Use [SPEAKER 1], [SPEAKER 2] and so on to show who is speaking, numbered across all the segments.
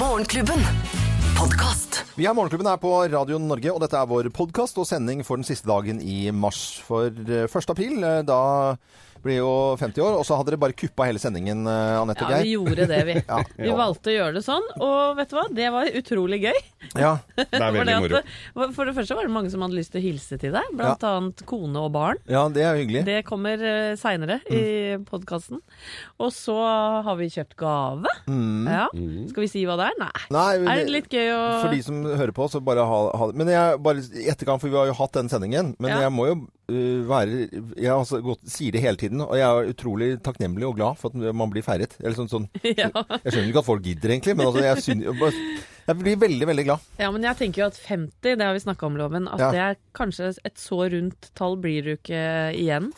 [SPEAKER 1] Morgenklubben. Podcast.
[SPEAKER 2] Vi er Morgenklubben her på Radio Norge, og dette er vår podkast og sending for den siste dagen i mars. For eh, 1. april, eh, da blir jo 50 år, og så hadde dere bare kuppa hele sendingen, eh, Anette og
[SPEAKER 3] Ja, vi
[SPEAKER 2] Geir.
[SPEAKER 3] gjorde det, vi.
[SPEAKER 2] Ja.
[SPEAKER 3] Vi valgte å gjøre det sånn, og vet du hva? Det var utrolig gøy.
[SPEAKER 2] Ja.
[SPEAKER 4] Det
[SPEAKER 3] For
[SPEAKER 4] er
[SPEAKER 3] det
[SPEAKER 4] veldig moro.
[SPEAKER 3] at- eh, For det første var det mange som hadde lyst til å hilse til deg, blant annet kone og barn.
[SPEAKER 2] ja, det er jo hyggelig.
[SPEAKER 3] Det kommer eh, seinere i podkasten. Og så har vi kjøpt gave. Ja. Skal vi si hva det er? Nei.
[SPEAKER 2] Nei, men
[SPEAKER 3] Er det litt gøy å
[SPEAKER 2] For de som hører på, så bare ha, ha Men jeg bare i etterkant, for vi har jo hatt den sendingen. Men
[SPEAKER 3] Ja.
[SPEAKER 2] jeg må jo øh, være Jeg har altså gått, sier det hele tiden, og jeg er utrolig takknemlig og glad for at man blir feiret. Eller sånn, sånn
[SPEAKER 3] ja.
[SPEAKER 2] Jeg skjønner ikke at folk gidder, egentlig, men altså, jeg, synes, jeg, bare, jeg blir veldig, veldig glad.
[SPEAKER 3] ja, men jeg tenker jo at 50, det har vi snakka om, Loven, at
[SPEAKER 2] Ja.
[SPEAKER 3] det er kanskje et så rundt tall blir du ikke igjen.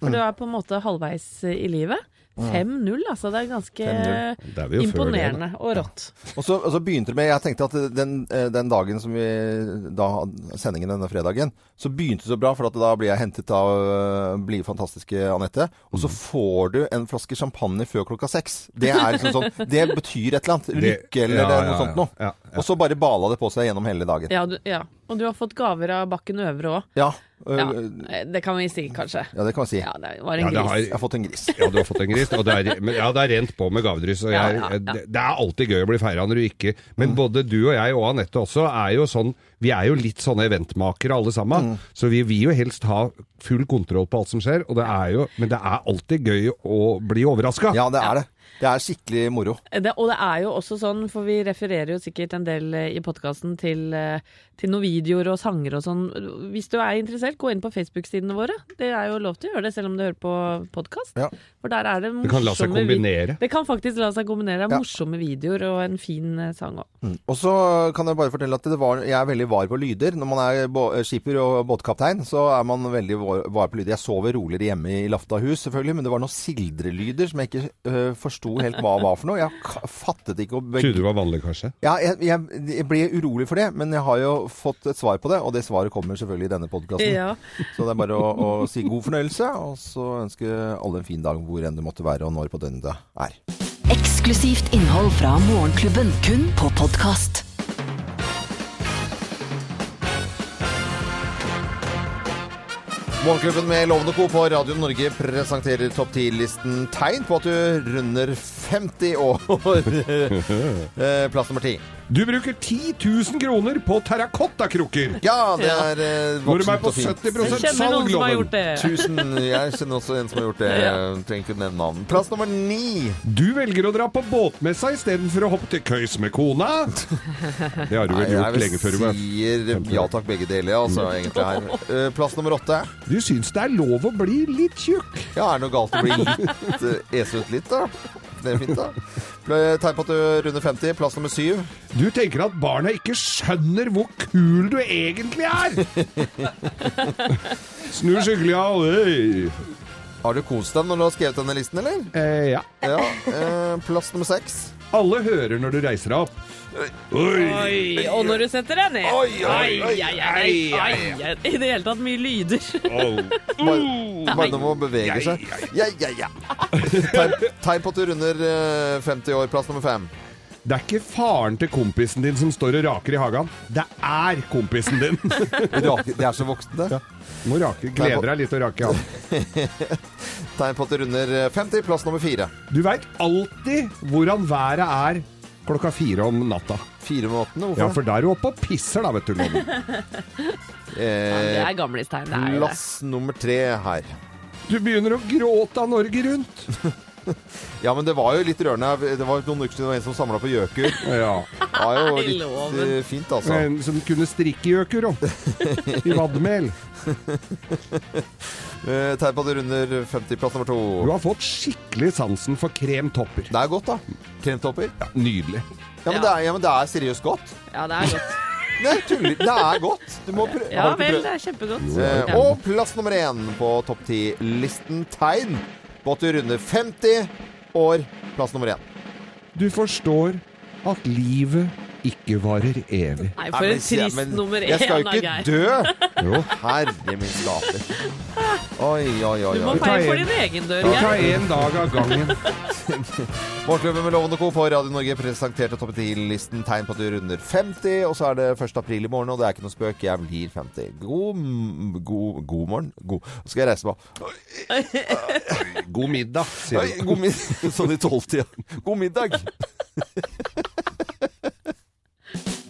[SPEAKER 3] For
[SPEAKER 4] Mm.
[SPEAKER 3] du er på en måte halvveis i livet. 5-0, altså. Det er ganske
[SPEAKER 2] 5-0.
[SPEAKER 4] Det er vi jo før det, da.
[SPEAKER 3] imponerende og rått.
[SPEAKER 2] Og så, og så begynte det med Jeg tenkte at den, eh, den dagen som vi da hadde sendingen denne fredagen, så begynte det så bra, for at da blir jeg hentet av eh, blide, fantastiske Anette. Og
[SPEAKER 4] Mhm.
[SPEAKER 2] så får du en flaske champagne før klokka seks. Det er liksom sånn Det betyr et eller annet.
[SPEAKER 4] Det-
[SPEAKER 2] Lykke eller
[SPEAKER 4] ja,
[SPEAKER 2] det er
[SPEAKER 4] ja,
[SPEAKER 2] noe
[SPEAKER 4] ja.
[SPEAKER 2] sånt noe.
[SPEAKER 4] Ja, ja.
[SPEAKER 2] Og så bare bala det på seg gjennom hele dagen.
[SPEAKER 3] Ja, du, ja. Og du har fått gaver av Bakken Øvre òg.
[SPEAKER 2] Ja. øh,
[SPEAKER 3] Ja,
[SPEAKER 2] øh,
[SPEAKER 3] det kan vi si, kanskje.
[SPEAKER 2] ja, det kan man si.
[SPEAKER 3] Ja, det var
[SPEAKER 4] Ja,
[SPEAKER 3] en
[SPEAKER 4] det
[SPEAKER 3] gris.
[SPEAKER 4] har-
[SPEAKER 2] Jeg har fått en gris.
[SPEAKER 4] Ja, du har fått en gris. Og det er, men ja, det er rent på med gavedryss. Og
[SPEAKER 3] Ja,
[SPEAKER 4] jeg,
[SPEAKER 3] ja, ja.
[SPEAKER 4] Det, det er alltid gøy å bli feira når du ikke Men
[SPEAKER 2] Mm.
[SPEAKER 4] både du og jeg og Anette også er jo sånn Vi er jo litt sånne eventmakere alle sammen.
[SPEAKER 2] Mm.
[SPEAKER 4] Så vi vil jo helst ha full kontroll på alt som skjer. Og det er jo, men det er alltid gøy å bli overraska.
[SPEAKER 2] Ja, det er det. Det er skikkelig moro.
[SPEAKER 3] Det, og det er jo også sånn, for vi refererer jo sikkert en del eh, i podkasten til, eh, til noen videoer og sanger og sånn. Hvis du er interessert, gå inn på Facebook-sidene våre. Det er jo lov til å gjøre det, selv om du hører på podkast.
[SPEAKER 2] Ja.
[SPEAKER 3] For der er det morsomme
[SPEAKER 4] Det kan la seg
[SPEAKER 3] vid-
[SPEAKER 4] kombinere.
[SPEAKER 3] Det kan faktisk la seg kombinere. Det er
[SPEAKER 2] Ja.
[SPEAKER 3] Morsomme videoer og en fin eh, sang òg.
[SPEAKER 2] Og så kan jeg bare fortelle at det var, jeg er veldig var på lyder. Når man er bå- skipper og båtkaptein, så er man veldig var- var på lyder. Jeg sover roligere hjemme i Laftahus, selvfølgelig, men det var noen sildrelyder som jeg ikke øh, forsto helt hva var for noe. Jeg ka- fattet ikke å beg-
[SPEAKER 4] Trodde du var vanlig, kanskje.
[SPEAKER 2] ja, jeg, jeg, jeg ble urolig for det, men jeg har jo fått et svar på det, og det svaret kommer selvfølgelig i denne podkasten.
[SPEAKER 3] Ja.
[SPEAKER 2] Så det er bare å, å si god fornøyelse, og så ønske alle en fin dag hvor enn det måtte være, og når på døgnet det er.
[SPEAKER 1] Eksklusivt innhold fra Morgenklubben, kun på podcast.
[SPEAKER 2] Morgenklubben med Loven og Co. på Radio Norge presenterer topp 10-listen tegn på at du runder 50 år. Eh, Plass nummer 10.
[SPEAKER 4] Du bruker 10 000 kroner på terrakottakrukker!
[SPEAKER 2] Ja, det er eh,
[SPEAKER 4] Når du
[SPEAKER 2] voksent
[SPEAKER 4] er på
[SPEAKER 2] og fint.
[SPEAKER 3] Kjenner
[SPEAKER 4] 70
[SPEAKER 3] noen
[SPEAKER 4] salg,
[SPEAKER 3] som har
[SPEAKER 4] Loven.
[SPEAKER 3] gjort det?
[SPEAKER 2] Tusen, jeg kjenner også en som har gjort det. Jeg Trenger ikke nevne navn. Plass nummer ni.
[SPEAKER 4] Du velger å dra på båtmessa istedenfor å hoppe til køys med kona. Det har du vel gjort lenge før du var
[SPEAKER 2] sier ja takk, begge deler, altså,
[SPEAKER 4] Mm.
[SPEAKER 2] egentlig her. Eh, Plass nummer åtte.
[SPEAKER 4] Du syns det er lov å bli litt tjukk.
[SPEAKER 2] Ja, er det noe galt å bli litt eh, ese ut litt, da? Det er fint, da. Pla- Tegn på at du runder 50. Plass nummer syv.
[SPEAKER 4] Du tenker at barna ikke skjønner hvor kul du egentlig er. Snur skyggelia og
[SPEAKER 2] Har du kost deg når du har skrevet denne listen, eller?
[SPEAKER 4] eh, Ja.
[SPEAKER 2] Ja, eh, plass nummer seks.
[SPEAKER 4] Alle hører når du reiser deg opp. Oi!
[SPEAKER 3] Oi, og når du setter deg ned
[SPEAKER 2] Oi, oi, oi,
[SPEAKER 3] ai, ai, ai, ai. I det hele tatt mye lyder.
[SPEAKER 4] Au.
[SPEAKER 2] Bare, bare når man beveger seg. Ja, ja, ja. Tegn tegn på at du runder eh, 50 år. Plass nummer fem.
[SPEAKER 4] Det er ikke faren til kompisen din som står og raker i hagen. Det er kompisen din.
[SPEAKER 2] Rake, de er så voksne.
[SPEAKER 4] Må rake. Gleder deg litt til å rake i hagen.
[SPEAKER 2] Tegn på at du runder eh, 50. Plass nummer fire.
[SPEAKER 4] Du veit alltid hvordan været er klokka fire om natta.
[SPEAKER 2] Fire med åttende,
[SPEAKER 4] Ja,
[SPEAKER 2] hvorfor?
[SPEAKER 4] for da er du oppe og pisser, da, vet du. Loven.
[SPEAKER 3] Det
[SPEAKER 2] Eh,
[SPEAKER 3] er gamlistegn. Det er jo det.
[SPEAKER 2] plass nummer tre her.
[SPEAKER 4] Du begynner å gråte av Norge Rundt.
[SPEAKER 2] Ja, men det var jo litt rørende. her. Det var noen uker siden det var en som samla på gjøkur.
[SPEAKER 4] Ja.
[SPEAKER 2] Det var jo
[SPEAKER 3] I
[SPEAKER 2] litt
[SPEAKER 3] loven.
[SPEAKER 2] eh, fint, altså.
[SPEAKER 4] En som kunne strikke gjøker òg. I vadmel.
[SPEAKER 2] Eh, Tegn på at du runder 50. Plass nummer to.
[SPEAKER 4] Du har fått skikkelig sansen for kremtopper.
[SPEAKER 2] Det er godt, da. Kremtopper.
[SPEAKER 4] Ja, nydelig.
[SPEAKER 2] Ja, men det er, ja, men det er seriøst godt.
[SPEAKER 3] Ja, det er godt.
[SPEAKER 2] Nei, tuller. Det er godt. Du må prøve.
[SPEAKER 3] Ja vel, det er kjempegodt.
[SPEAKER 2] Eh,
[SPEAKER 3] Ja.
[SPEAKER 2] og plass nummer én på topp ti-listen tegn på at du runder 50 år. Plass nummer én.
[SPEAKER 4] Du forstår at livet ikke varer evig.
[SPEAKER 3] Nei,
[SPEAKER 2] Nei,
[SPEAKER 3] for
[SPEAKER 2] men
[SPEAKER 3] en
[SPEAKER 2] si-
[SPEAKER 3] trist
[SPEAKER 2] men
[SPEAKER 3] nummer én
[SPEAKER 2] Jeg skal jo
[SPEAKER 3] av
[SPEAKER 2] ikke
[SPEAKER 3] Geir.
[SPEAKER 2] dø!
[SPEAKER 4] Jo.
[SPEAKER 2] Herre min skaper. Oi, oi, oi.
[SPEAKER 3] Du må
[SPEAKER 2] oi.
[SPEAKER 4] tar
[SPEAKER 3] feie for
[SPEAKER 4] en.
[SPEAKER 3] din egen dør,
[SPEAKER 4] Vi
[SPEAKER 3] Geir.
[SPEAKER 4] tar én dag av gangen.
[SPEAKER 2] Morgenklubben med Lovende Co. for Radio Norge presenterte topp 10-listen tegn på at du runder 50, og så er det 1. april i morgen, og det er ikke noe spøk. Jeg blir 50. God, m- god, god morgen. God. Så skal jeg reise meg opp.
[SPEAKER 4] God middag, sier
[SPEAKER 2] Oi,
[SPEAKER 4] du.
[SPEAKER 2] God middag. Sånn i tolvtida. God middag.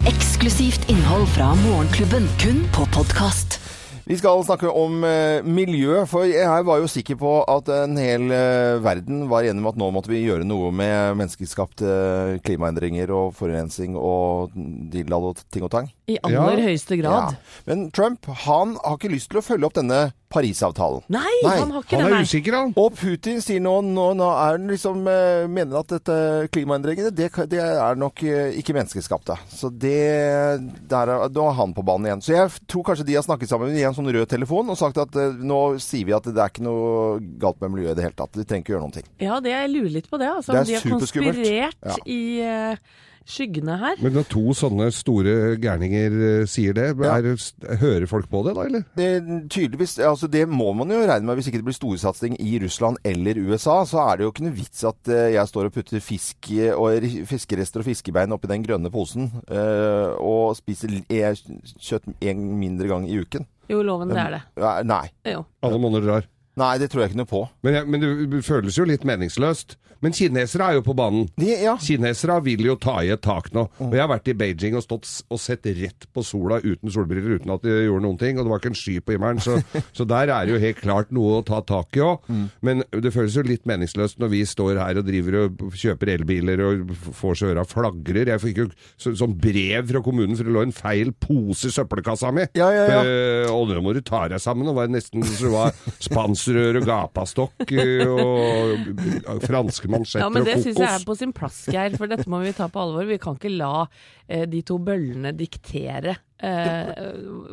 [SPEAKER 1] Eksklusivt innhold fra Morgenklubben, kun på podkast.
[SPEAKER 2] Vi skal snakke om eh, miljø, for jeg var jo sikker på at en hel eh, verden var enig om at nå måtte vi gjøre noe med menneskeskapte eh, klimaendringer og forurensning og dillal og ting og tang.
[SPEAKER 3] I aller
[SPEAKER 4] Ja.
[SPEAKER 3] høyeste grad.
[SPEAKER 2] Ja. Men Trump han har ikke lyst til å følge opp denne Parisavtalen.
[SPEAKER 3] Nei,
[SPEAKER 2] Nei,
[SPEAKER 3] han har ikke
[SPEAKER 4] Han
[SPEAKER 3] det,
[SPEAKER 4] er
[SPEAKER 3] nei.
[SPEAKER 4] usikker, han.
[SPEAKER 2] Og Putin sier nå, nå, nå er han liksom, eh, mener at dette klimaendringene det, kan- det er nok eh, ikke menneskeskapte. Så det, der er, nå er han på banen igjen. Så jeg tror kanskje de har snakket sammen i en sånn rød telefon og sagt at eh, nå sier vi at det er ikke noe galt med miljøet i det hele tatt. Vi trenger ikke gjøre noen ting.
[SPEAKER 3] Ja, det jeg lurer litt på det. Altså,
[SPEAKER 2] Det er
[SPEAKER 3] om de har
[SPEAKER 2] superskummelt.
[SPEAKER 3] konspirert
[SPEAKER 2] Ja.
[SPEAKER 3] i eh, skyggene her.
[SPEAKER 4] Men når to sånne store gærninger eh, sier det,
[SPEAKER 2] Ja.
[SPEAKER 4] er, hører folk på det da, eller?
[SPEAKER 2] Det, tydeligvis, altså det må man jo regne med hvis ikke det blir storsatsing i Russland eller USA, så er det jo ikke noe vits at eh, jeg står og putter fisk i- og ri- fiskerester og fiskebein oppi den grønne posen eh, og spiser l- e- kjøtt en mindre gang i uken.
[SPEAKER 3] Jo, loven, det er det.
[SPEAKER 2] Ja, Nei.
[SPEAKER 3] Jo.
[SPEAKER 4] Alle måneder drar.
[SPEAKER 2] Nei, det tror jeg ikke noe på.
[SPEAKER 4] Men, jeg- men det det føles jo litt meningsløst. Men kinesere er jo på banen.
[SPEAKER 2] De, ja.
[SPEAKER 4] Kinesere vil jo ta i et tak nå. Og Jeg har vært i Beijing og stått s- og sett rett på sola uten solbriller, uten at de gjorde noen ting. Og det var ikke en sky på himmelen, så, så der er det jo helt klart noe å ta tak i òg.
[SPEAKER 3] Mm.
[SPEAKER 4] Men det føles jo litt meningsløst når vi står her og driver og kjøper elbiler og f- får så øra flagrer. Jeg fikk jo så, sånn brev fra kommunen for det lå en feil pose i søppelkassa mi.
[SPEAKER 2] Ja, ja, ja.
[SPEAKER 4] Eh, og nå må du ta deg sammen. Og var nesten så det var spanserør og gapastokk eh, og eh, franske mansjetter
[SPEAKER 3] Ja, men det
[SPEAKER 4] og kokos.
[SPEAKER 3] syns jeg er på sin plass, Geir, for dette må vi ta på alvor. Vi kan ikke la eh, de to bøllene diktere eh,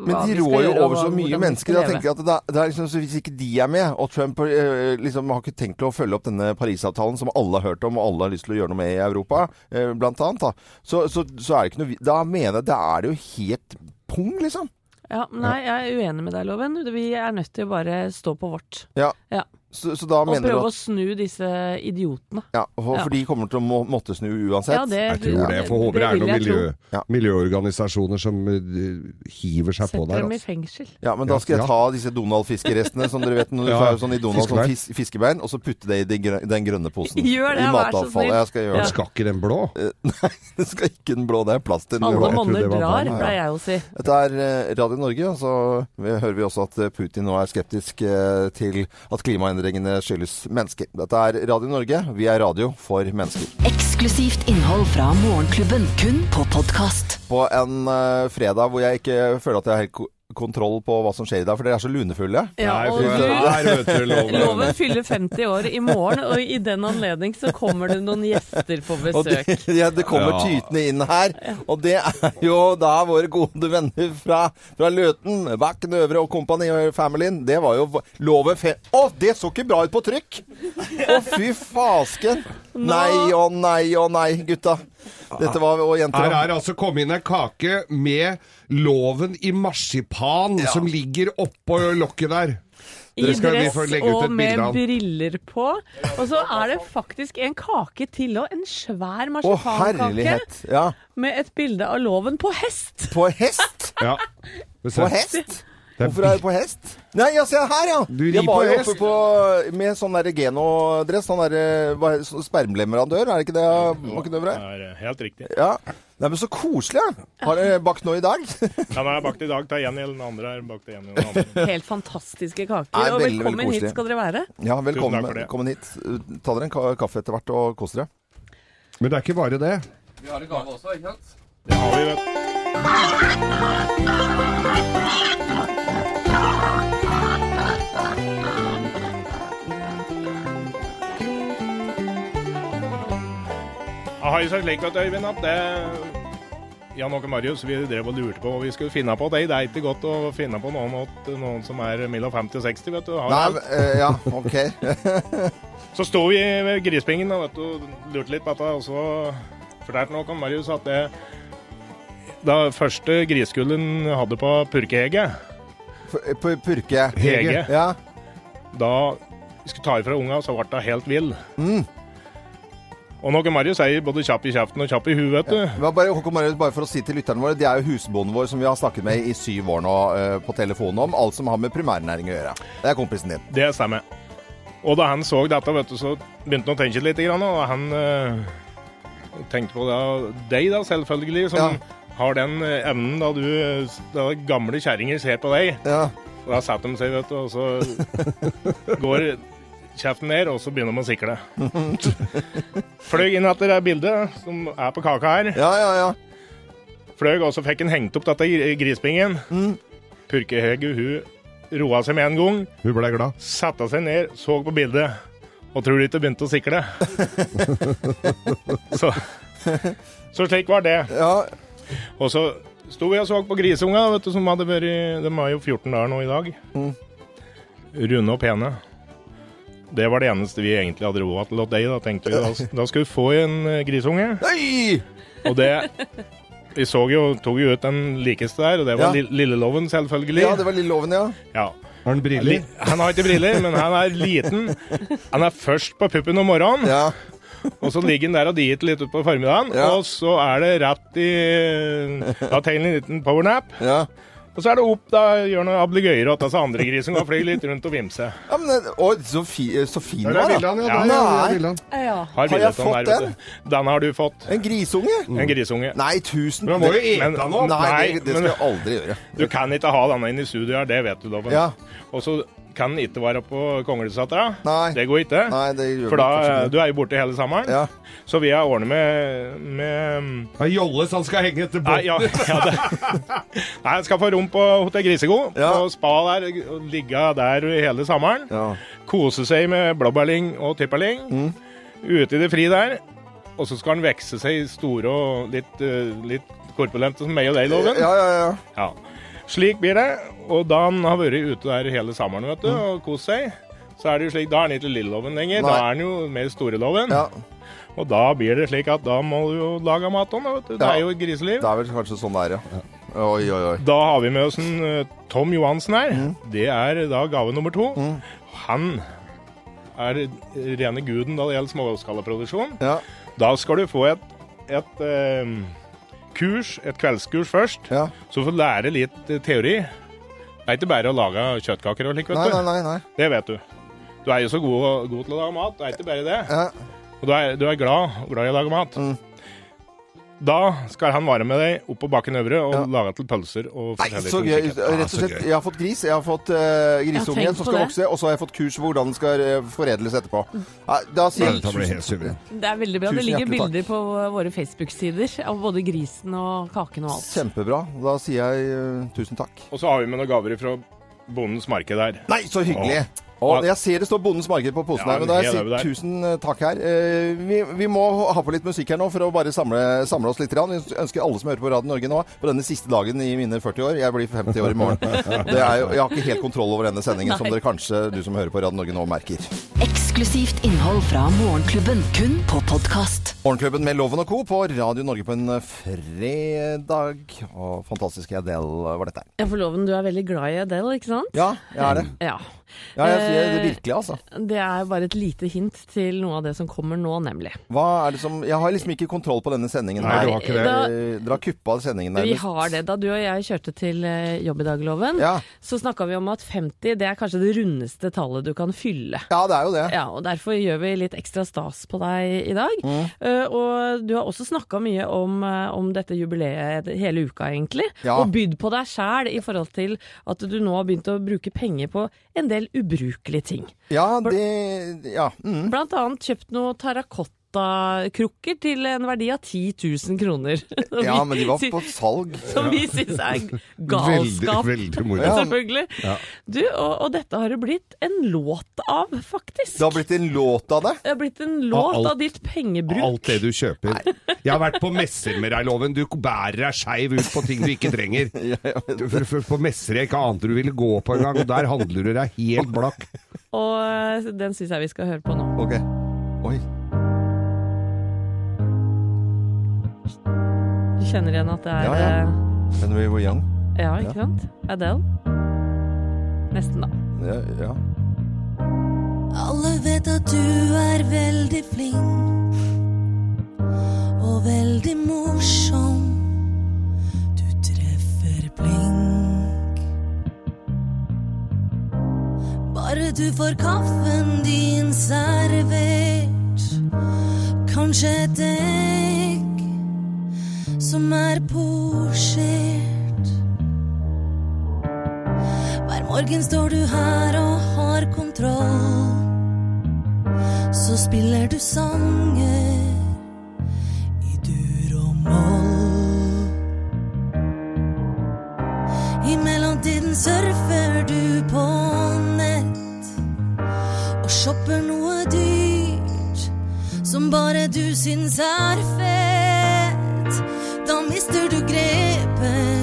[SPEAKER 2] Men
[SPEAKER 3] hva
[SPEAKER 2] de
[SPEAKER 3] vi skal
[SPEAKER 2] rår jo
[SPEAKER 3] gjøre, og
[SPEAKER 2] over så
[SPEAKER 3] hva-
[SPEAKER 2] mye
[SPEAKER 3] hvordan vi
[SPEAKER 2] mennesker.
[SPEAKER 3] skal
[SPEAKER 2] Jeg
[SPEAKER 3] leve.
[SPEAKER 2] tenker at det er, det er liksom, så Hvis ikke de er med, og Trump eh, liksom har ikke tenkt til å følge opp denne Parisavtalen som alle har hørt om og alle har lyst til å gjøre noe med i Europa, eh, blant annet, da. Så, så, så er det ikke noe vi- Da mener jeg da er det jo helt pung, liksom.
[SPEAKER 3] Ja, nei, jeg er uenig med deg, Loven. Vi er nødt til å bare stå på vårt.
[SPEAKER 2] Ja.
[SPEAKER 3] Ja.
[SPEAKER 2] Så, så da
[SPEAKER 3] Og
[SPEAKER 2] mener du
[SPEAKER 3] prøve å
[SPEAKER 2] at
[SPEAKER 3] snu disse idiotene.
[SPEAKER 2] ja, for, for de kommer til å må, måtte snu uansett.
[SPEAKER 3] Ja, det-
[SPEAKER 4] Jeg tror det. Jeg får håpe det, er
[SPEAKER 3] vil
[SPEAKER 4] noen
[SPEAKER 3] jeg
[SPEAKER 4] miljø,
[SPEAKER 2] tro. Ja.
[SPEAKER 4] miljøorganisasjoner som eh, hiver seg på
[SPEAKER 3] Setter
[SPEAKER 4] der.
[SPEAKER 3] dem i
[SPEAKER 4] Altså.
[SPEAKER 3] fengsel.
[SPEAKER 2] Ja, men da skal jeg
[SPEAKER 4] Ja.
[SPEAKER 2] ta disse Donald-fiskerestene som dere vet når du
[SPEAKER 4] Ja,
[SPEAKER 2] får sånn i Donald sånn
[SPEAKER 4] fiskebein.
[SPEAKER 2] fis, fiskebein, og så putte det i de grø- den grønne posen.
[SPEAKER 3] Gjør det,
[SPEAKER 2] I
[SPEAKER 3] vær så snill.
[SPEAKER 2] matavfallet. Jeg skal gjøre det.
[SPEAKER 3] Ja.
[SPEAKER 4] Skal ikke den blå?
[SPEAKER 2] Nei, det skal ikke den blå. Det er plass til den blå.
[SPEAKER 3] Alle
[SPEAKER 4] jeg tror
[SPEAKER 3] monner
[SPEAKER 4] det var
[SPEAKER 3] drar,
[SPEAKER 4] bra, ja.
[SPEAKER 3] pleier jeg å si.
[SPEAKER 2] Dette er eh, Radio Norge, og så vi- hører vi også at eh, Putin nå er skeptisk eh, til at klimaendringene skyldes mennesker. Dette er Radio Norge. Vi er radio for mennesker.
[SPEAKER 1] Eksklusivt innhold fra Morgenklubben, kun på podkast.
[SPEAKER 2] På en eh, fredag hvor jeg ikke føler at jeg har helt ko kontroll på hva som skjer i dag, for dere er så lunefulle.
[SPEAKER 3] Ja,
[SPEAKER 4] Nei,
[SPEAKER 3] og
[SPEAKER 4] fy
[SPEAKER 3] du,
[SPEAKER 4] faen, der vet du loven.
[SPEAKER 3] Loven fyller 50 år i morgen, og i den anledning så kommer det noen gjester på
[SPEAKER 2] Og det,
[SPEAKER 3] besøk.
[SPEAKER 2] ja, det kommer
[SPEAKER 4] Ja.
[SPEAKER 2] tytende inn her, og det er jo da våre gode venner fra, fra Løten, Bakken Øvre og Kompani og Familien. Det var jo loven fe... Å, det så ikke bra ut på trykk! Å, fy fasken! Nei og nei og nei, gutta. Dette var Og jenter.
[SPEAKER 4] Her
[SPEAKER 2] da.
[SPEAKER 4] er det altså kommet inn ei kake med loven i marsipan som ligger oppå lokket der.
[SPEAKER 3] I
[SPEAKER 4] Dere skal- vi
[SPEAKER 3] dress
[SPEAKER 4] får legge ut
[SPEAKER 3] og
[SPEAKER 4] et
[SPEAKER 3] med
[SPEAKER 4] bilde av den.
[SPEAKER 3] briller på. Og så er det faktisk en kake til og en svær
[SPEAKER 2] Å,
[SPEAKER 3] marsipankake
[SPEAKER 2] herlighet. Ja.
[SPEAKER 3] med et bilde av loven på hest.
[SPEAKER 2] På hest?
[SPEAKER 4] Ja. Det
[SPEAKER 2] På
[SPEAKER 4] ser-
[SPEAKER 2] hest?
[SPEAKER 4] Det
[SPEAKER 2] Hvorfor er du på hest? Nei, ja, se her, ja!
[SPEAKER 4] Du rir
[SPEAKER 2] jeg var
[SPEAKER 4] på
[SPEAKER 2] jo
[SPEAKER 4] hest.
[SPEAKER 2] oppe på, med sånn der Geno-dress. Sånn der hva- sånn spermleverandør, er det ikke det? Bakken Øvre?
[SPEAKER 5] Det er eh, helt riktig.
[SPEAKER 2] Ja. Nei, men så koselig. ja. Har dere bakt noe i dag?
[SPEAKER 5] Den er bakt i dag til en eller den andre. er bakt til en eller den andre.
[SPEAKER 3] Helt fantastiske kaker.
[SPEAKER 2] Nei, veldig,
[SPEAKER 3] og
[SPEAKER 2] veldig
[SPEAKER 3] velkommen hit
[SPEAKER 2] koselig.
[SPEAKER 3] skal dere være.
[SPEAKER 2] Ja, velkommen
[SPEAKER 5] Tusen takk for det.
[SPEAKER 2] velkommen hit. Ta dere en ka- kaffe etter hvert og kos dere.
[SPEAKER 4] Men det er ikke bare det.
[SPEAKER 5] Det har vi, vet du. Jeg har jo sagt slik at Øyvind at det Jan Åke Marius, vi drev og lurte på hva vi skulle finne på. Det det er ikke godt å finne på noen, åt- noen som er mellom 50 og 60, vet du. Har
[SPEAKER 2] Nei,
[SPEAKER 5] alt.
[SPEAKER 2] eh, ja, ok.
[SPEAKER 5] Så sto vi ved grispingen og vet du, lurte litt på dette, og så fortalte nok om Marius at det da første griskullen hadde på purkeegget
[SPEAKER 2] F- På purke.
[SPEAKER 5] Hege.
[SPEAKER 2] Ja.
[SPEAKER 5] da vi skulle ta ifra unga, så ble hun helt vill. Og noe Marius er både kjapp i kjeften og kjapp i huet, vet du.
[SPEAKER 2] Det var bare, Håkon Marius, bare for å si til lytterne våre, det er jo husbonden vår som vi har snakket med i syv år nå eh, på telefonen om alt som har med primærnæring å gjøre. Det er kompisen din.
[SPEAKER 5] Det stemmer. Og da han så dette, vet du, så begynte han å tenke litt, grann, og han eh, tenkte på da, deg, da, selvfølgelig, som
[SPEAKER 2] Ja.
[SPEAKER 5] har den eh, evnen da du eh, da gamle kjerringer ser på deg.
[SPEAKER 2] Ja.
[SPEAKER 5] Og Da setter de seg, vet du, og så går kjeften ned, og så begynner de å sikle. Fløy inn etter det bildet som er på kaka her.
[SPEAKER 2] Ja, ja, ja.
[SPEAKER 5] Fløy, og så fikk han hengt opp dette i grispingen. Purkehegge, hun roa seg med en gang
[SPEAKER 4] Hun ble glad.
[SPEAKER 5] satte seg ned, så på bildet, og tror du ikke begynte å sikle? så, så slik var det.
[SPEAKER 2] ja.
[SPEAKER 5] Og så sto vi og så på grisunga, vet du, som hadde vært i- De var jo 14 dager nå i dag.
[SPEAKER 2] Mm.
[SPEAKER 5] Runde og pene. Det var det eneste vi egentlig hadde råd til åt deg, da tenkte vi. Da, da skulle vi få en eh, grisunge.
[SPEAKER 2] Oi!
[SPEAKER 5] Og det Vi så jo, tok jo ut den likeste der, og det
[SPEAKER 2] Ja.
[SPEAKER 5] var li- Lilleloven, selvfølgelig.
[SPEAKER 2] Ja, det var lille loven, ja.
[SPEAKER 5] ja.
[SPEAKER 4] Har han briller?
[SPEAKER 5] Li- Han har ikke briller, men han er liten. Han er først på puppen om morgenen,
[SPEAKER 2] Ja,
[SPEAKER 5] og så ligger han der og diet litt utpå formiddagen.
[SPEAKER 2] Ja.
[SPEAKER 5] Og så er det rett i Da tar han en liten powernap.
[SPEAKER 2] ja.
[SPEAKER 5] Og så er det opp, da gjør noen ablegøyer og tar seg andre grisen og flyr litt rundt og vimser.
[SPEAKER 2] ja men, det- å, så, fi, så fin den
[SPEAKER 4] Der er
[SPEAKER 2] var,
[SPEAKER 4] bildene,
[SPEAKER 2] da.
[SPEAKER 4] ja. Der,
[SPEAKER 2] Nei.
[SPEAKER 4] er bildene.
[SPEAKER 3] Ja.
[SPEAKER 5] Har,
[SPEAKER 2] jeg
[SPEAKER 5] bildet av
[SPEAKER 2] fått
[SPEAKER 5] her, vet du. Den har du fått.
[SPEAKER 2] En grisunge?
[SPEAKER 5] En grisunge.
[SPEAKER 2] Nei, tusen
[SPEAKER 4] Men han må jo
[SPEAKER 2] det-
[SPEAKER 4] ete
[SPEAKER 5] Men-
[SPEAKER 4] han opp.
[SPEAKER 2] Nei,
[SPEAKER 5] Nei,
[SPEAKER 2] det, det skal
[SPEAKER 5] men-
[SPEAKER 2] jeg aldri gjøre.
[SPEAKER 5] Du kan ikke ha denne inn i studio her, det vet du, Loven.
[SPEAKER 2] Ja.
[SPEAKER 5] Og så kan den ikke være på Konglesetra.
[SPEAKER 2] Nei.
[SPEAKER 5] Det går ikke.
[SPEAKER 2] Nei, det gjør
[SPEAKER 5] For da,
[SPEAKER 4] eh,
[SPEAKER 2] ikke.
[SPEAKER 5] du er jo borte hele sommeren.
[SPEAKER 2] Ja.
[SPEAKER 5] Så vi har ordnet med, med
[SPEAKER 4] Ja, Jolles, han skal henge etter
[SPEAKER 5] Nei,
[SPEAKER 4] båten.
[SPEAKER 5] ja, ja, det. Nei, jeg skal få rom på Hotell Grisegod.
[SPEAKER 2] Ja.
[SPEAKER 5] Og spa der. og Ligge der hele sommeren.
[SPEAKER 2] Ja.
[SPEAKER 5] Kose seg med blåbærling og tipperling.
[SPEAKER 2] Mm.
[SPEAKER 5] Ute i det fri der. Og så skal han vekse seg i store og litt, eh, litt korpulente som meg og deg, Loven.
[SPEAKER 2] ja, ja, ja.
[SPEAKER 5] Ja. Slik blir det. Og da han har vært ute der hele sommeren vet du, og kost seg, så er det jo slik, da er han ikke Lilleloven lenger. Da
[SPEAKER 2] Mm. Nei.
[SPEAKER 5] er han jo mer Storeloven.
[SPEAKER 2] ja.
[SPEAKER 5] Og da blir det slik at da må du jo lage mat til ham. Det
[SPEAKER 2] Ja.
[SPEAKER 5] er jo et griseliv.
[SPEAKER 2] Det er vel kanskje sånn det er, ja. Oi, oi, oi.
[SPEAKER 5] Da har vi med oss en eh, Tom Johansen her.
[SPEAKER 2] Mm.
[SPEAKER 5] Det er da gave nummer to. Han er rene guden da det gjelder småskalaproduksjon.
[SPEAKER 2] Ja,
[SPEAKER 5] Da skal du få et, et eh, kurs, et kveldskurs først,
[SPEAKER 2] ja.
[SPEAKER 5] så du får lære litt eh, teori. Det er ikke bare å lage kjøttkaker og slik, vet
[SPEAKER 2] Nei,
[SPEAKER 5] du.
[SPEAKER 2] nei, nei. nei.
[SPEAKER 5] Det vet du. Du er jo så god, god til å lage mat, det er ikke bare det.
[SPEAKER 2] Ja. Mm.
[SPEAKER 5] Og du er, du er glad, og glad i å lage mat. Da skal han være med deg opp på bakken øvre og lage til pølser og
[SPEAKER 2] Nei,
[SPEAKER 5] forskjellige
[SPEAKER 2] så gøy. Rett
[SPEAKER 5] konsikker.
[SPEAKER 2] og
[SPEAKER 4] så
[SPEAKER 2] slett,
[SPEAKER 4] gøy.
[SPEAKER 2] jeg har fått gris, jeg har fått uh,
[SPEAKER 3] Ja,
[SPEAKER 2] grisungen
[SPEAKER 3] tenk
[SPEAKER 2] som
[SPEAKER 3] på
[SPEAKER 2] skal
[SPEAKER 3] det. Mm.
[SPEAKER 2] vokse, og så har jeg fått kurs for hvordan den skal eh, foredles etterpå. Nei, da sier
[SPEAKER 4] Ja,
[SPEAKER 2] jeg
[SPEAKER 4] Dette blir
[SPEAKER 2] tusen-
[SPEAKER 4] helt suverent.
[SPEAKER 3] Det er veldig bra. Det
[SPEAKER 2] Tusen
[SPEAKER 3] ligger
[SPEAKER 2] hjertelig takk.
[SPEAKER 3] bilder på våre Facebook-sider av både grisen og kaken og alt.
[SPEAKER 2] Kjempebra. Da sier jeg eh, tusen takk.
[SPEAKER 5] Og så har vi med noen gaver fra Bondens marked her.
[SPEAKER 2] Nei, så hyggelig! Og jeg ser det står Bondens marked på posen her,
[SPEAKER 5] Ja,
[SPEAKER 2] men da
[SPEAKER 5] helt
[SPEAKER 2] jeg sier
[SPEAKER 5] over der.
[SPEAKER 2] tusen eh, takk her. Eh, vi, vi må ha på litt musikk her nå for å bare samle, samle oss litt. grann. Vi ønsker alle som hører på Radio Norge nå, på denne siste dagen i mine 40 år Jeg blir 50 år i morgen. Det er jo, jeg har ikke helt kontroll over denne sendingen, som
[SPEAKER 3] Nei.
[SPEAKER 2] dere kanskje, du som hører på Radio Norge nå, merker.
[SPEAKER 1] Eksklusivt innhold fra Morgenklubben, kun på podkast.
[SPEAKER 2] Morgenklubben med Loven og Co. på Radio Norge på en eh, fredag. Og fantastiske Adele var dette.
[SPEAKER 3] Jeg får loven, du er veldig glad i Adele, ikke sant?
[SPEAKER 2] Ja, jeg er det.
[SPEAKER 3] Ja.
[SPEAKER 2] Ja, jeg sier det virkelig, altså.
[SPEAKER 3] Det er bare et lite hint til noe av det som kommer nå, nemlig.
[SPEAKER 2] Hva er det som Jeg har liksom ikke kontroll på denne sendingen
[SPEAKER 4] Nei,
[SPEAKER 2] her.
[SPEAKER 4] du har ikke det.
[SPEAKER 3] Da-
[SPEAKER 2] Eh, Dere har kuppa sendingen
[SPEAKER 3] Vi
[SPEAKER 2] nærmest.
[SPEAKER 3] har det. Da du og jeg kjørte til eh, jobb i dag, Loven,
[SPEAKER 2] Ja.
[SPEAKER 3] så snakka vi om at 50 det er kanskje det rundeste tallet du kan fylle.
[SPEAKER 2] Ja, det er jo det.
[SPEAKER 3] Ja, og Derfor gjør vi litt ekstra stas på deg i dag.
[SPEAKER 2] Mm.
[SPEAKER 3] Eh, og du har også snakka mye om, eh, om dette jubileet hele uka, egentlig.
[SPEAKER 2] Ja.
[SPEAKER 3] Og bydd på deg sjæl i forhold til at du nå har begynt å bruke penger på en del ubrukelige ting.
[SPEAKER 2] Ja, det Ja. Mm.
[SPEAKER 3] Blant annet kjøpt noe terrakottakrukker til en verdi av 10 000 kroner. Som vi
[SPEAKER 2] ja, men de var
[SPEAKER 3] sy-
[SPEAKER 2] på salg.
[SPEAKER 3] Som vi syns er
[SPEAKER 4] Veldig,
[SPEAKER 3] galskap.
[SPEAKER 4] veldig moro.
[SPEAKER 2] Ja.
[SPEAKER 3] Selvfølgelig. Du, og, og dette har det blitt en låt av, faktisk.
[SPEAKER 2] Det har blitt en låt av det.
[SPEAKER 3] Det har blitt en låt
[SPEAKER 4] alt-
[SPEAKER 3] av ditt pengebruk.
[SPEAKER 4] Alt det du kjøper. Jeg har vært på messer med deg, Loven. Du bærer deg skeiv ut på ting du ikke trenger. Du, for, for, på messer jeg ikke ante du ville gå på engang, og der handler du deg helt blakk.
[SPEAKER 3] Og eh, den syns jeg vi skal høre på nå.
[SPEAKER 2] Ok. Oi.
[SPEAKER 3] Du kjenner igjen at det er
[SPEAKER 2] Ja, ja. When we were young.
[SPEAKER 3] eh, ja ikke sant? Adele. Nesten, da.
[SPEAKER 2] Ja, ja.
[SPEAKER 6] Alle vet at du er veldig flink og veldig morsom. Du treffer blink. Bare du får kaffen din servert, kanskje et egg som er posjert. Hver morgen står du her og har kontroll. Så spiller du sanger i dur og moll. I mellomtiden surfer du på nett og shopper noe dyrt som bare du syns er fett. Da mister du grepet.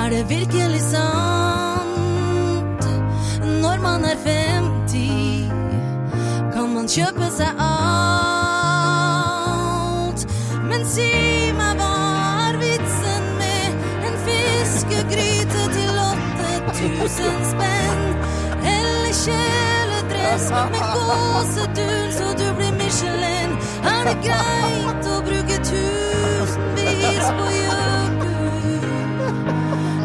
[SPEAKER 6] Er det virkelig sant? Når man er 50, kan man kjøpe seg alt. Men si meg, hva er vitsen med en fiskegryte til 8000 spenn? Eller kjeledress med gåsetur så du blir Michelin? Er det greit å bruke tusenvis på gjøkur?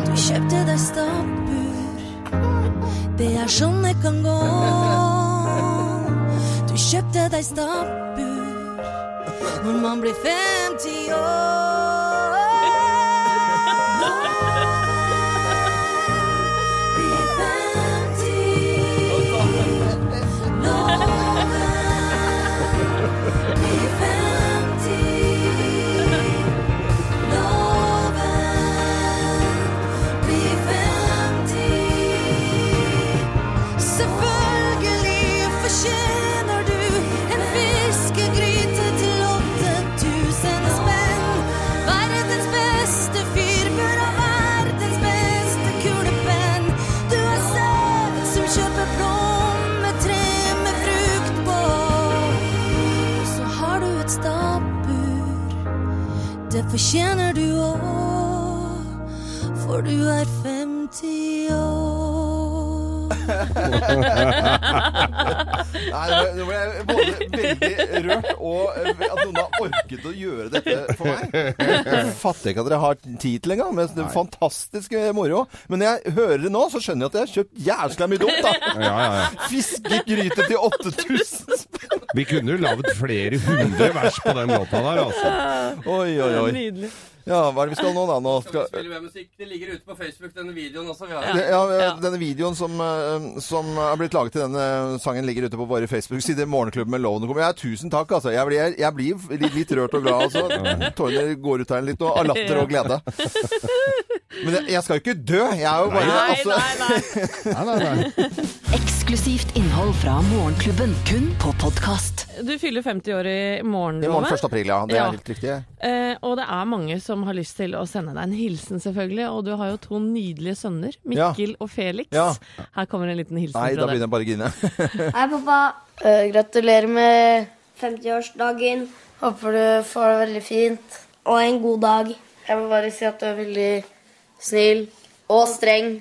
[SPEAKER 6] Du kjøpte deg stabbur Det er sånn det kan gå Du kjøpte deg stabbur Når man blir 50 år Blir 50 Loven Blir 50 Loven bli 50 Selvfølgelig fortjener du en fiskegryte til 8000 spenn. Verdens beste fyr bør ha verdens beste kulepenn. Du er selv som kjøper plommetre med frukt på. Og så har du et stabbur. Det fortjener du òg. For du er 50 år.
[SPEAKER 2] Nei, nå ble- nå ble jeg både veldig rørt og eh, at noen har orket å gjøre dette for meg. Jeg fatter ikke at dere har tid til engang, men det er fantastisk eh, moro. Men når jeg hører det nå, så skjønner jeg at jeg har kjøpt jævla mye dumt, da.
[SPEAKER 4] Ja, ja, ja.
[SPEAKER 2] Fiskegryte til 8000 spenn.
[SPEAKER 4] Vi kunne jo lagd flere hundre vers på den låta der, altså.
[SPEAKER 2] Oi, oi, oi.
[SPEAKER 3] Nydelig.
[SPEAKER 2] Ja, hva er det vi skal nå, da? Nå skal...
[SPEAKER 7] spiller mer musikk. Det ligger ute på Facebook, denne videoen også. Vi har.
[SPEAKER 2] Det- Ja,
[SPEAKER 3] Ja.
[SPEAKER 2] Denne videoen som, eh, som er blitt laget til denne eh, sangen, ligger ute på våre Facebook-sider. Morgenklubben med lovende kommer. Ja, tusen takk, altså. Jeg blir, jeg blir litt, litt rørt og glad, altså. Tårene går ut her litt nå. Av latter og glede. Men jeg, jeg skal jo ikke dø. Jeg er jo bare
[SPEAKER 3] Nei,
[SPEAKER 2] altså,
[SPEAKER 3] nei, nei.
[SPEAKER 4] Nei, nei, nei.
[SPEAKER 1] Eksklusivt innhold fra Morgenklubben, kun på podkast.
[SPEAKER 3] Du fyller 50 år i morgen,
[SPEAKER 2] I morgen
[SPEAKER 3] Loven.
[SPEAKER 2] 1. april, ja. Det
[SPEAKER 3] Ja.
[SPEAKER 2] er helt riktig.
[SPEAKER 3] Eh, og det er mange som har lyst til å sende deg en hilsen, selvfølgelig. Og du har jo to nydelige sønner,
[SPEAKER 2] Ja.
[SPEAKER 3] Mikkel og Felix.
[SPEAKER 2] Ja.
[SPEAKER 3] Her kommer en liten hilsen
[SPEAKER 2] Nei, da
[SPEAKER 3] fra
[SPEAKER 2] begynner jeg bare å grine.
[SPEAKER 8] Hei, pappa.
[SPEAKER 9] Eh,
[SPEAKER 8] gratulerer med 50-årsdagen. Håper du får det veldig fint. Og en god dag. Jeg vil bare si at du er veldig snill og streng.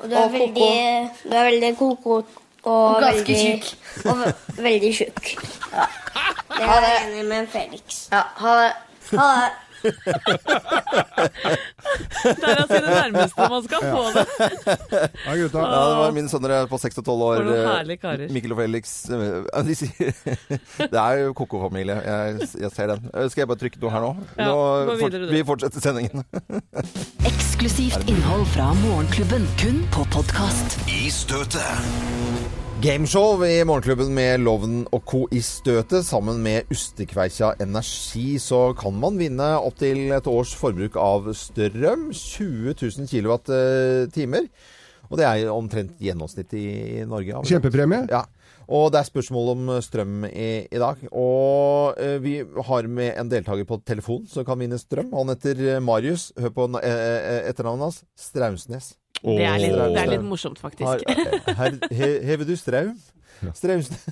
[SPEAKER 8] Og du er veldig
[SPEAKER 9] Du er veldig koko og
[SPEAKER 8] Ganske
[SPEAKER 9] veldig Og ve- veldig tjukk. Det er jeg enig med Felix.
[SPEAKER 8] Ja, ha det.
[SPEAKER 9] Ha det.
[SPEAKER 3] deg. Der er altså det nærmeste man skal få det.
[SPEAKER 4] Ja, gutta.
[SPEAKER 2] Ja, det var mine sønner på 6 og 12 år.
[SPEAKER 3] For noen
[SPEAKER 2] eh,
[SPEAKER 3] herlige karer.
[SPEAKER 2] Mikkel og Felix. eh, De sier Det er jo koko-familie. Jeg, jeg ser den. Eh, Skal jeg bare trykke noe her nå?
[SPEAKER 3] Ja,
[SPEAKER 2] nå
[SPEAKER 3] gå videre, du.
[SPEAKER 2] vi fortsetter sendingen.
[SPEAKER 1] Eksklusivt innhold fra Morgenklubben, kun på podkast.
[SPEAKER 10] I støtet.
[SPEAKER 2] Gameshow i Morgenklubben med Loven og co. i støtet. Sammen med Ustekveikja Energi så kan man vinne opptil et års forbruk av strøm. 20 000 kilowattimer. Og det er jo omtrent gjennomsnittet i Norge. har vi det?
[SPEAKER 4] Kjempepremie.
[SPEAKER 2] Ja. Og det er spørsmål om eh, strøm i, i dag. Og eh, vi har med en deltaker på telefon som kan vinne strøm. Han heter eh, Marius. Hør på na- eh, eh, etternavnet hans. Strausnes.
[SPEAKER 3] Det er litt, det
[SPEAKER 2] Åh.
[SPEAKER 3] er litt morsomt,
[SPEAKER 2] Har, eh,
[SPEAKER 3] faktisk.
[SPEAKER 2] her, he, hever du straum? Strausnes.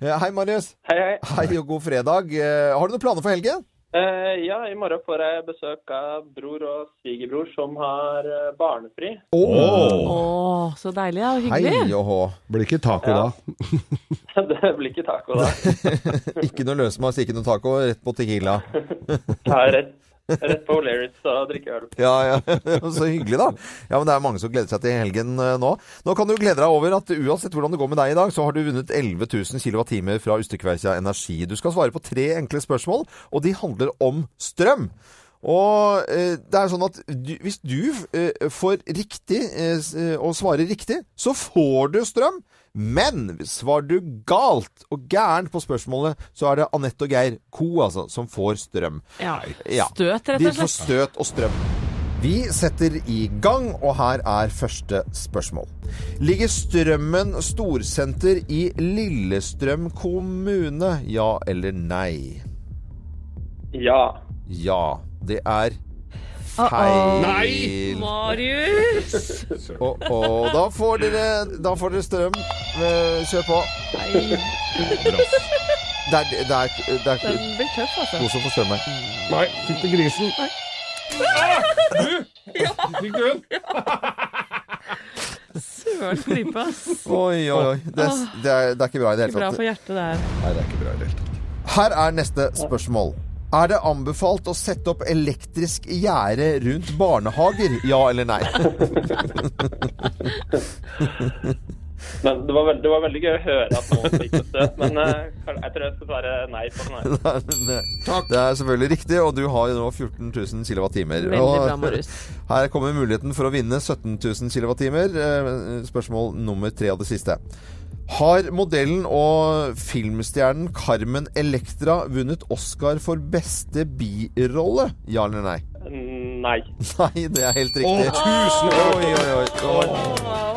[SPEAKER 2] Eh, Hei, Marius.
[SPEAKER 11] Hei, hei.
[SPEAKER 2] Hei og god fredag. Eh, Har du noen planer for helgen?
[SPEAKER 10] Eh, ja, i morgen får jeg besøk av bror og svigerbror som har eh, barnefri.
[SPEAKER 4] Åh!
[SPEAKER 3] Å, så deilig ja, og hyggelig.
[SPEAKER 2] Hei og hå.
[SPEAKER 4] Blir ikke taco
[SPEAKER 10] Ja.
[SPEAKER 4] da.
[SPEAKER 10] det blir ikke taco, da.
[SPEAKER 2] Ikke noe løsmas, ikke noe taco, rett på Tequila.
[SPEAKER 10] Ja, rett, rett på O'Learys og drikke øl.
[SPEAKER 2] Ja, ja, Så hyggelig, da. Ja, men Det er mange som gleder seg til helgen eh, nå. Nå kan du glede deg over at uansett hvordan det går med deg i dag, så har du vunnet 11 000 kWh fra Ustekveikja Energi. Du skal svare på tre enkle spørsmål, og de handler om strøm. Og eh, det er sånn at du, hvis du eh, får riktig eh, s- eh, og svarer riktig, så får du strøm. Men svarer du galt og gærent på spørsmålet, så er det Anette og Geir Co. altså, som får strøm.
[SPEAKER 3] Ja.
[SPEAKER 2] Ja.
[SPEAKER 3] Støt, rett
[SPEAKER 2] De
[SPEAKER 3] og
[SPEAKER 2] får
[SPEAKER 3] slett.
[SPEAKER 2] støt og strøm. Vi setter i gang, og her er første spørsmål. Ligger Strømmen storsenter i Lillestrøm kommune? Ja eller nei?
[SPEAKER 10] Ja.
[SPEAKER 2] Ja. Det er feil.
[SPEAKER 3] Marius!
[SPEAKER 2] Og, og da, får dere, da får dere strøm. Eh, Kjør på.
[SPEAKER 3] Nei,
[SPEAKER 2] Det er, det er, det er
[SPEAKER 3] den blir tøff, altså.
[SPEAKER 2] noe som får strøm her.
[SPEAKER 4] Nei, fikk du grisen?
[SPEAKER 5] Fikk du den?
[SPEAKER 3] Søren klype, ass.
[SPEAKER 2] Oi, oi, oi. Det, er- det, er, det er ikke bra i det
[SPEAKER 3] Ikke
[SPEAKER 2] hele
[SPEAKER 3] bra
[SPEAKER 2] tatt.
[SPEAKER 3] for hjertet, det her.
[SPEAKER 4] Nei, det er ikke bra i det hele tatt.
[SPEAKER 2] Her er neste spørsmål. Er det anbefalt å sette opp elektrisk gjerde rundt barnehager? Ja eller nei?
[SPEAKER 10] Men det var, veld, det var veldig gøy å høre at noen fikk det støt, men eh, kan- jeg tror jeg skal svare nei på den her.
[SPEAKER 2] Det er selvfølgelig riktig, og du har jo nå 14 000 kilowattimer.
[SPEAKER 3] Veldig bra, Marius.
[SPEAKER 2] Her kommer muligheten for å vinne 17 000 kilowattimer. Eh, Spørsmål nummer tre av det siste. Har modellen og filmstjernen Carmen Electra vunnet Oscar for beste birolle? Ja eller nei?
[SPEAKER 10] Nei.
[SPEAKER 2] Nei, det er helt riktig. Oi, oi, oi. Det var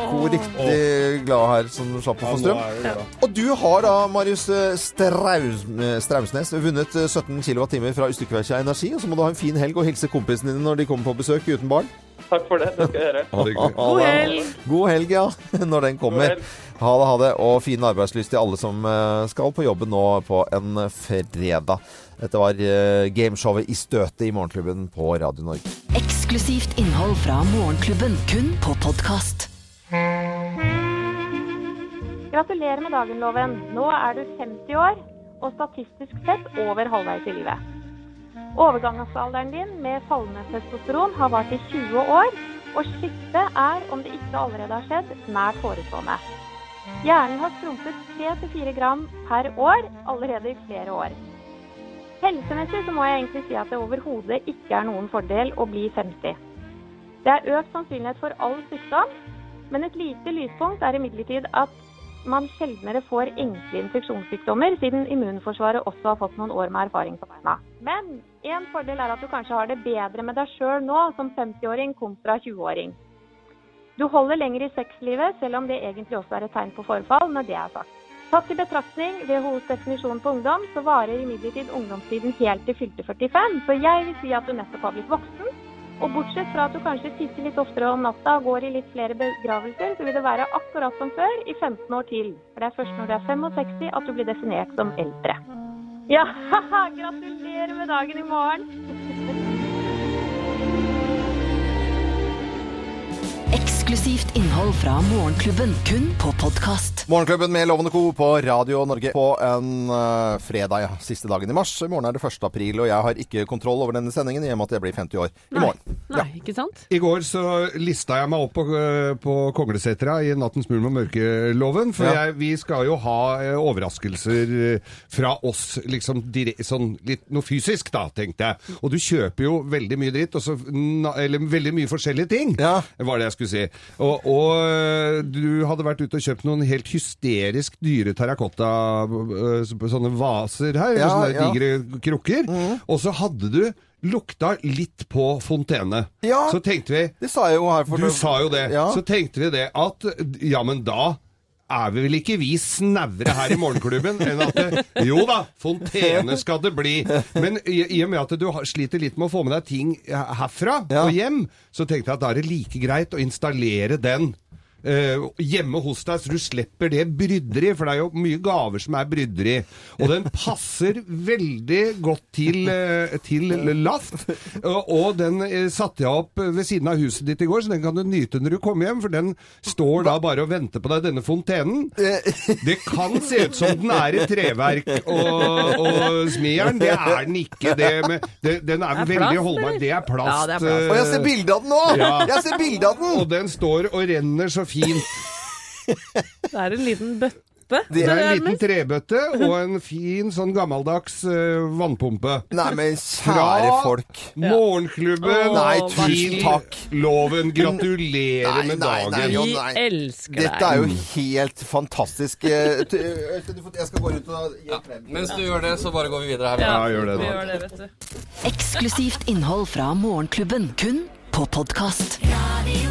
[SPEAKER 2] to riktig glade her som slapp å få strøm. Og du har da, Marius eh, Straus, eh, Strausnes, vunnet eh, 17 kWh fra Ustykkeverkja Energi. Og så må du ha en fin helg og hilse kompisene dine når de kommer på besøk uten barn.
[SPEAKER 10] Takk for det. Det skal jeg gjøre.
[SPEAKER 4] Ha det hyggelig.
[SPEAKER 3] God helg!
[SPEAKER 2] God helg, ja. Når den
[SPEAKER 10] God
[SPEAKER 2] kommer.
[SPEAKER 10] helg.
[SPEAKER 2] Ha det, ha det. Og fin arbeidslyst til alle som eh, skal på jobben nå på en fredag. Dette var eh, gameshowet I støtet i Morgenklubben på Radio Norge.
[SPEAKER 1] Eksklusivt innhold fra Morgenklubben, kun på podkast.
[SPEAKER 11] Gratulerer med dagen, Loven. Nå er du 50 år, og statistisk sett over halvveis i livet. Overgangsalderen din med fallende testosteron har vart i 20 år, og skiftet er, om det ikke allerede har skjedd, nært forestående. Hjernen har skrumpet 3-4 gram per år allerede i flere år. Helsemessig så må jeg egentlig si at det overhodet ikke er noen fordel å bli 50. Det er økt sannsynlighet for all sykdom, men et lite lyspunkt er imidlertid at man sjeldnere får enkle infeksjonssykdommer, siden immunforsvaret også har fått noen år med erfaring på beina. Men en fordel er at du kanskje har det bedre med deg sjøl nå som 50-åring kontra 20-åring. Du holder lenger i sexlivet, selv om det egentlig også er et tegn på forfall, når det er sagt. Tatt i betraktning WHOs definisjon på ungdom, så varer imidlertid ungdomstiden helt til fylte 45, så jeg vil si at du nettopp har blitt voksen. Og bortsett fra at du kanskje tisser litt oftere om natta og går i litt flere begravelser, så vil det være akkurat som før i 15 år til. For det er først når du er 65 at du blir definert som eldre. Ja, haha, gratulerer med dagen i morgen!
[SPEAKER 1] Eksklusivt innhold fra Morgenklubben, kun på podkast.
[SPEAKER 2] Morgenklubben med Lovende Co. på Radio Norge på en eh, fredag, ja. Siste dagen i mars. I morgen er det 1. april, og jeg har ikke kontroll over denne sendingen i og med at jeg blir 50 år i morgen.
[SPEAKER 3] Nei, ikke sant?
[SPEAKER 4] I går så lista jeg meg opp på, eh, på Konglesetra i Nattens mulm og mørkeloven, for
[SPEAKER 2] Ja.
[SPEAKER 4] jeg, vi skal jo ha eh, overraskelser eh, fra oss, liksom dire, sånn litt noe fysisk da, tenkte jeg. Og du kjøper jo veldig mye dritt, og så, na- eller veldig mye forskjellige ting,
[SPEAKER 2] Ja.
[SPEAKER 4] var det jeg skulle si. Og, og eh, du hadde vært ute og kjøpt noen helt hysterisk dyre terrakotta, eh, sånne vaser her,
[SPEAKER 2] Ja,
[SPEAKER 4] sånne der
[SPEAKER 2] ja.
[SPEAKER 4] digre krukker,
[SPEAKER 2] Mm.
[SPEAKER 4] og så hadde du lukta litt på fontene.
[SPEAKER 2] Ja.
[SPEAKER 4] Så tenkte vi,
[SPEAKER 2] Det sa jeg jo her for
[SPEAKER 4] du sa jo det.
[SPEAKER 2] Ja.
[SPEAKER 4] Så tenkte vi det at ja, men da er vi vel ikke vi snevre her i morgenklubben enn at det, jo da, fontene skal det bli. Men i, i og med at du har- sliter litt med å få med deg ting herfra
[SPEAKER 2] Ja.
[SPEAKER 4] og hjem, så tenkte jeg at da er det like greit å installere den. eh, hjemme hos deg, så du slipper det bryderi, for det er jo mye gaver som er bryderi. Og den passer veldig godt til, eh, til laft. Eh, Og den eh, satte jeg opp ved siden av huset ditt i går, så den kan du nyte når du kommer hjem, for den står da bare og venter på deg, denne fontenen. Det kan se ut som den er i treverk og, og smijern. Det er den ikke. Det, men det, den er,
[SPEAKER 2] Det er plast,
[SPEAKER 4] veldig holdbar.
[SPEAKER 2] eller?
[SPEAKER 4] Det er plast.
[SPEAKER 2] Ja, det er plast.
[SPEAKER 4] eh,
[SPEAKER 2] Å, jeg ser bilde av den nå! Jeg ser bilde av den!
[SPEAKER 4] Og den står og renner så fint.
[SPEAKER 3] Det er en liten bøtte.
[SPEAKER 4] Det er en liten
[SPEAKER 3] nærmest.
[SPEAKER 4] trebøtte og en fin sånn gammeldags eh, vannpumpe.
[SPEAKER 2] Nei, men kjære folk.
[SPEAKER 4] Fra Morgenklubben
[SPEAKER 2] Åh, Nei,
[SPEAKER 4] til
[SPEAKER 2] tusen takk.
[SPEAKER 4] loven. Gratulerer med dagen.
[SPEAKER 2] Dette er jo helt fantastisk. eh, t- eh, Jeg skal gå rundt og gi en klem.
[SPEAKER 7] Mens du gjør det, så bare går vi videre her.
[SPEAKER 2] Ja, gjør det, da.
[SPEAKER 7] Vi
[SPEAKER 1] Eksklusivt innhold fra Morgenklubben, kun på podkast.
[SPEAKER 6] Radio